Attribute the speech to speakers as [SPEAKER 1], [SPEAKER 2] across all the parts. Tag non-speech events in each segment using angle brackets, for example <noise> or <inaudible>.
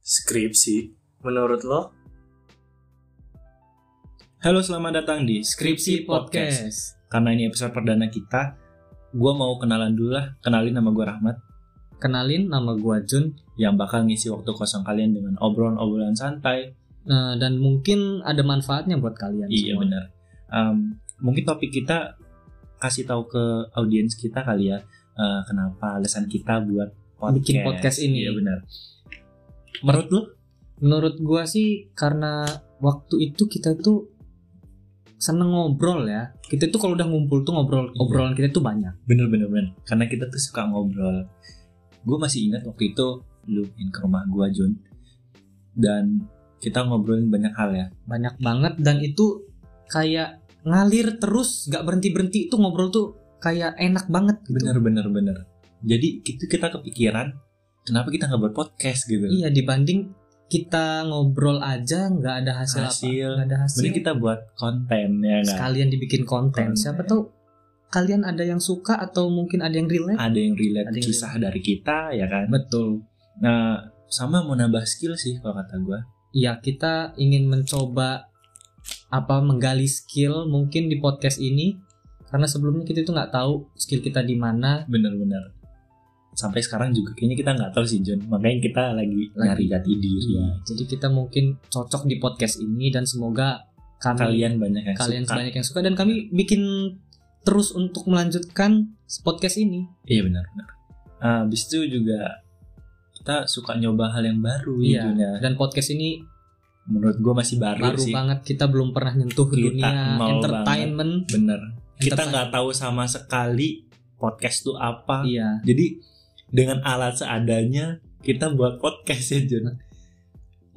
[SPEAKER 1] skripsi.
[SPEAKER 2] Menurut lo?
[SPEAKER 1] Halo, selamat datang di Skripsi Podcast. Karena ini episode perdana kita, gua mau kenalan dulu lah. Kenalin nama gua Rahmat
[SPEAKER 3] Kenalin nama gua Jun
[SPEAKER 1] yang bakal ngisi waktu kosong kalian dengan obrolan-obrolan santai.
[SPEAKER 3] Nah, dan mungkin ada manfaatnya buat kalian
[SPEAKER 1] Iya
[SPEAKER 3] semua.
[SPEAKER 1] benar. Um, mungkin topik kita kasih tahu ke audiens kita kali ya. eh, kenapa alasan kita buat podcast.
[SPEAKER 3] Bikin podcast ini.
[SPEAKER 1] Iya benar. Menurut lu?
[SPEAKER 3] Menurut gua sih karena waktu itu kita tuh seneng ngobrol ya. Kita tuh kalau udah ngumpul tuh ngobrol
[SPEAKER 1] Iya.
[SPEAKER 3] obrolan kita tuh banyak.
[SPEAKER 1] Bener bener bener. Karena kita tuh suka ngobrol. Gue masih ingat waktu itu lu main ke rumah gue Jun dan kita ngobrolin banyak hal ya.
[SPEAKER 3] Banyak banget dan itu kayak ngalir terus gak berhenti-berhenti itu ngobrol tuh kayak enak banget gitu.
[SPEAKER 1] Bener bener bener. Jadi itu kita kepikiran kenapa kita nggak buat podcast gitu.
[SPEAKER 3] Iya dibanding kita ngobrol aja nggak ada hasil,
[SPEAKER 1] Hasil.
[SPEAKER 3] apa nggak ada hasil
[SPEAKER 1] Mending kita buat konten ya nggak?
[SPEAKER 3] sekalian dibikin konten
[SPEAKER 1] Konten.
[SPEAKER 3] siapa tahu kalian ada yang suka atau mungkin ada yang relate
[SPEAKER 1] Ada yang relate
[SPEAKER 3] Ada yang
[SPEAKER 1] kisah dari kita ya kan.
[SPEAKER 3] betul
[SPEAKER 1] Nah, sama mau nambah skill sih kalau kata gue.
[SPEAKER 3] ya kita ingin mencoba apa menggali skill mungkin di podcast ini karena sebelumnya kita itu nggak tahu skill kita di mana
[SPEAKER 1] Bener-bener. Sampai sekarang juga kayaknya kita nggak tahu sih John. Makanya kita lagi, Iya.
[SPEAKER 3] Lagi.
[SPEAKER 1] nyari jati diri.
[SPEAKER 3] jadi kita mungkin cocok di podcast ini dan semoga kami
[SPEAKER 1] Kalian banyak yang
[SPEAKER 3] Hmm. kalian
[SPEAKER 1] suka.
[SPEAKER 3] banyak yang suka dan kami bikin terus untuk melanjutkan podcast ini
[SPEAKER 1] Iya benar-benar. Nah, habis itu juga kita suka nyoba hal yang baru di
[SPEAKER 3] Iya.
[SPEAKER 1] dunia.
[SPEAKER 3] dan podcast ini
[SPEAKER 1] Menurut gue masih baru,
[SPEAKER 3] baru
[SPEAKER 1] sih.
[SPEAKER 3] banget kita belum pernah nyentuh
[SPEAKER 1] Kita
[SPEAKER 3] dunia
[SPEAKER 1] nol
[SPEAKER 3] entertainment
[SPEAKER 1] Bener. Kita
[SPEAKER 3] Entertainment.
[SPEAKER 1] nggak tahu sama sekali podcast tuh apa.
[SPEAKER 3] iya
[SPEAKER 1] Jadi dengan alat seadanya kita buat podcast ya John.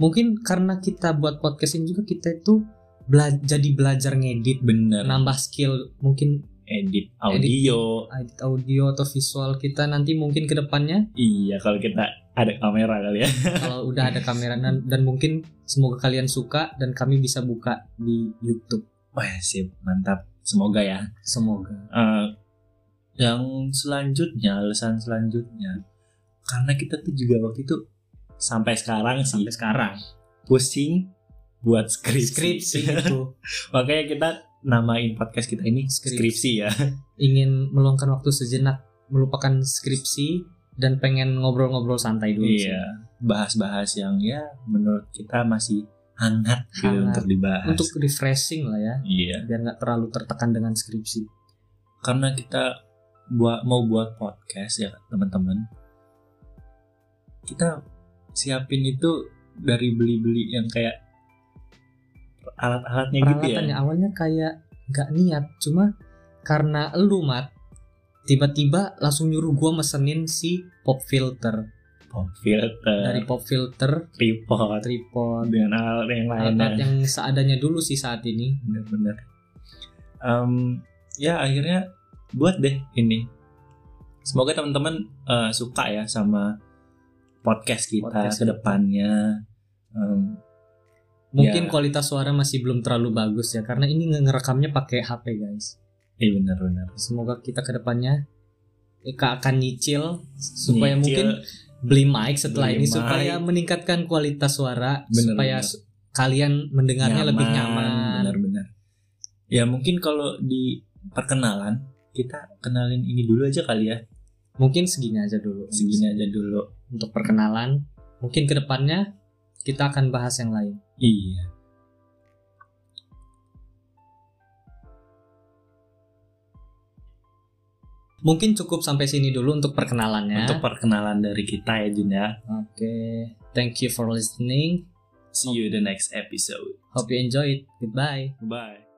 [SPEAKER 3] mungkin karena kita buat podcast ini juga kita itu bela- jadi belajar ngedit
[SPEAKER 1] Bener.
[SPEAKER 3] nambah skill mungkin
[SPEAKER 1] Edit audio.
[SPEAKER 3] edit audio atau visual kita nanti mungkin <laughs> kedepannya
[SPEAKER 1] Iya kalau kita ada kamera kali ya. <laughs>
[SPEAKER 3] kalau udah ada kamera dan, dan mungkin semoga kalian suka dan kami bisa buka di YouTube
[SPEAKER 1] Wah sip mantap semoga ya.
[SPEAKER 3] semoga
[SPEAKER 1] Eh, yang selanjutnya alasan selanjutnya karena kita tuh juga waktu itu sampai sekarang sih
[SPEAKER 3] sampai sekarang
[SPEAKER 1] pusing buat skripsi.
[SPEAKER 3] <laughs> skripsi itu
[SPEAKER 1] <laughs> Makanya kita namain podcast kita ini
[SPEAKER 3] Skripsi.
[SPEAKER 1] skripsi, ya.
[SPEAKER 3] ingin meluangkan waktu sejenak melupakan skripsi dan pengen ngobrol-ngobrol santai dulu sih.
[SPEAKER 1] Iya. Bahas-bahas yang ya menurut kita masih hangat, gitu
[SPEAKER 3] Hangat.
[SPEAKER 1] untuk dibahas.
[SPEAKER 3] untuk refreshing lah ya
[SPEAKER 1] iya.
[SPEAKER 3] biar nggak terlalu tertekan dengan skripsi
[SPEAKER 1] karena kita buat mau buat podcast ya teman-teman kita siapin itu dari beli-beli yang kayak alat-alatnya gitu ya
[SPEAKER 3] peralatannya awalnya kayak nggak niat cuma karena lu mat tiba-tiba langsung nyuruh gua mesenin si pop filter
[SPEAKER 1] Pop filter
[SPEAKER 3] dari pop filter
[SPEAKER 1] tripod
[SPEAKER 3] tripod
[SPEAKER 1] dengan alat yang
[SPEAKER 3] alat
[SPEAKER 1] lainnya
[SPEAKER 3] yang seadanya dulu sih saat ini
[SPEAKER 1] bener-bener Em, ya akhirnya buat deh ini semoga teman-teman eh, suka ya sama podcast kita
[SPEAKER 3] Podcast kita.
[SPEAKER 1] kedepannya Em, Ya.
[SPEAKER 3] mungkin kualitas suara masih belum terlalu bagus ya karena ini nge- ngerekamnya pakai HP guys
[SPEAKER 1] iya bener-bener
[SPEAKER 3] semoga kita kedepannya Eka akan nyicil supaya
[SPEAKER 1] Nyicil.
[SPEAKER 3] mungkin beli mic setelah
[SPEAKER 1] Beli
[SPEAKER 3] ini
[SPEAKER 1] mic.
[SPEAKER 3] supaya meningkatkan kualitas suara
[SPEAKER 1] Bener,
[SPEAKER 3] supaya
[SPEAKER 1] bener.
[SPEAKER 3] su- kalian mendengarnya lebih nyaman.
[SPEAKER 1] benar-benar ya mungkin kalau di perkenalan kita kenalin ini dulu aja kali ya
[SPEAKER 3] Mungkin segini aja dulu.
[SPEAKER 1] segini aja dulu
[SPEAKER 3] untuk perkenalan. Mungkin kedepannya kita akan bahas yang lain.
[SPEAKER 1] iya
[SPEAKER 3] Mungkin cukup sampai sini dulu untuk perkenalannya.
[SPEAKER 1] untuk perkenalan dari kita ya Jun ya
[SPEAKER 3] Oke, thank you for listening.
[SPEAKER 1] see you the next episode
[SPEAKER 3] Hope you enjoy it. Goodbye.
[SPEAKER 1] bye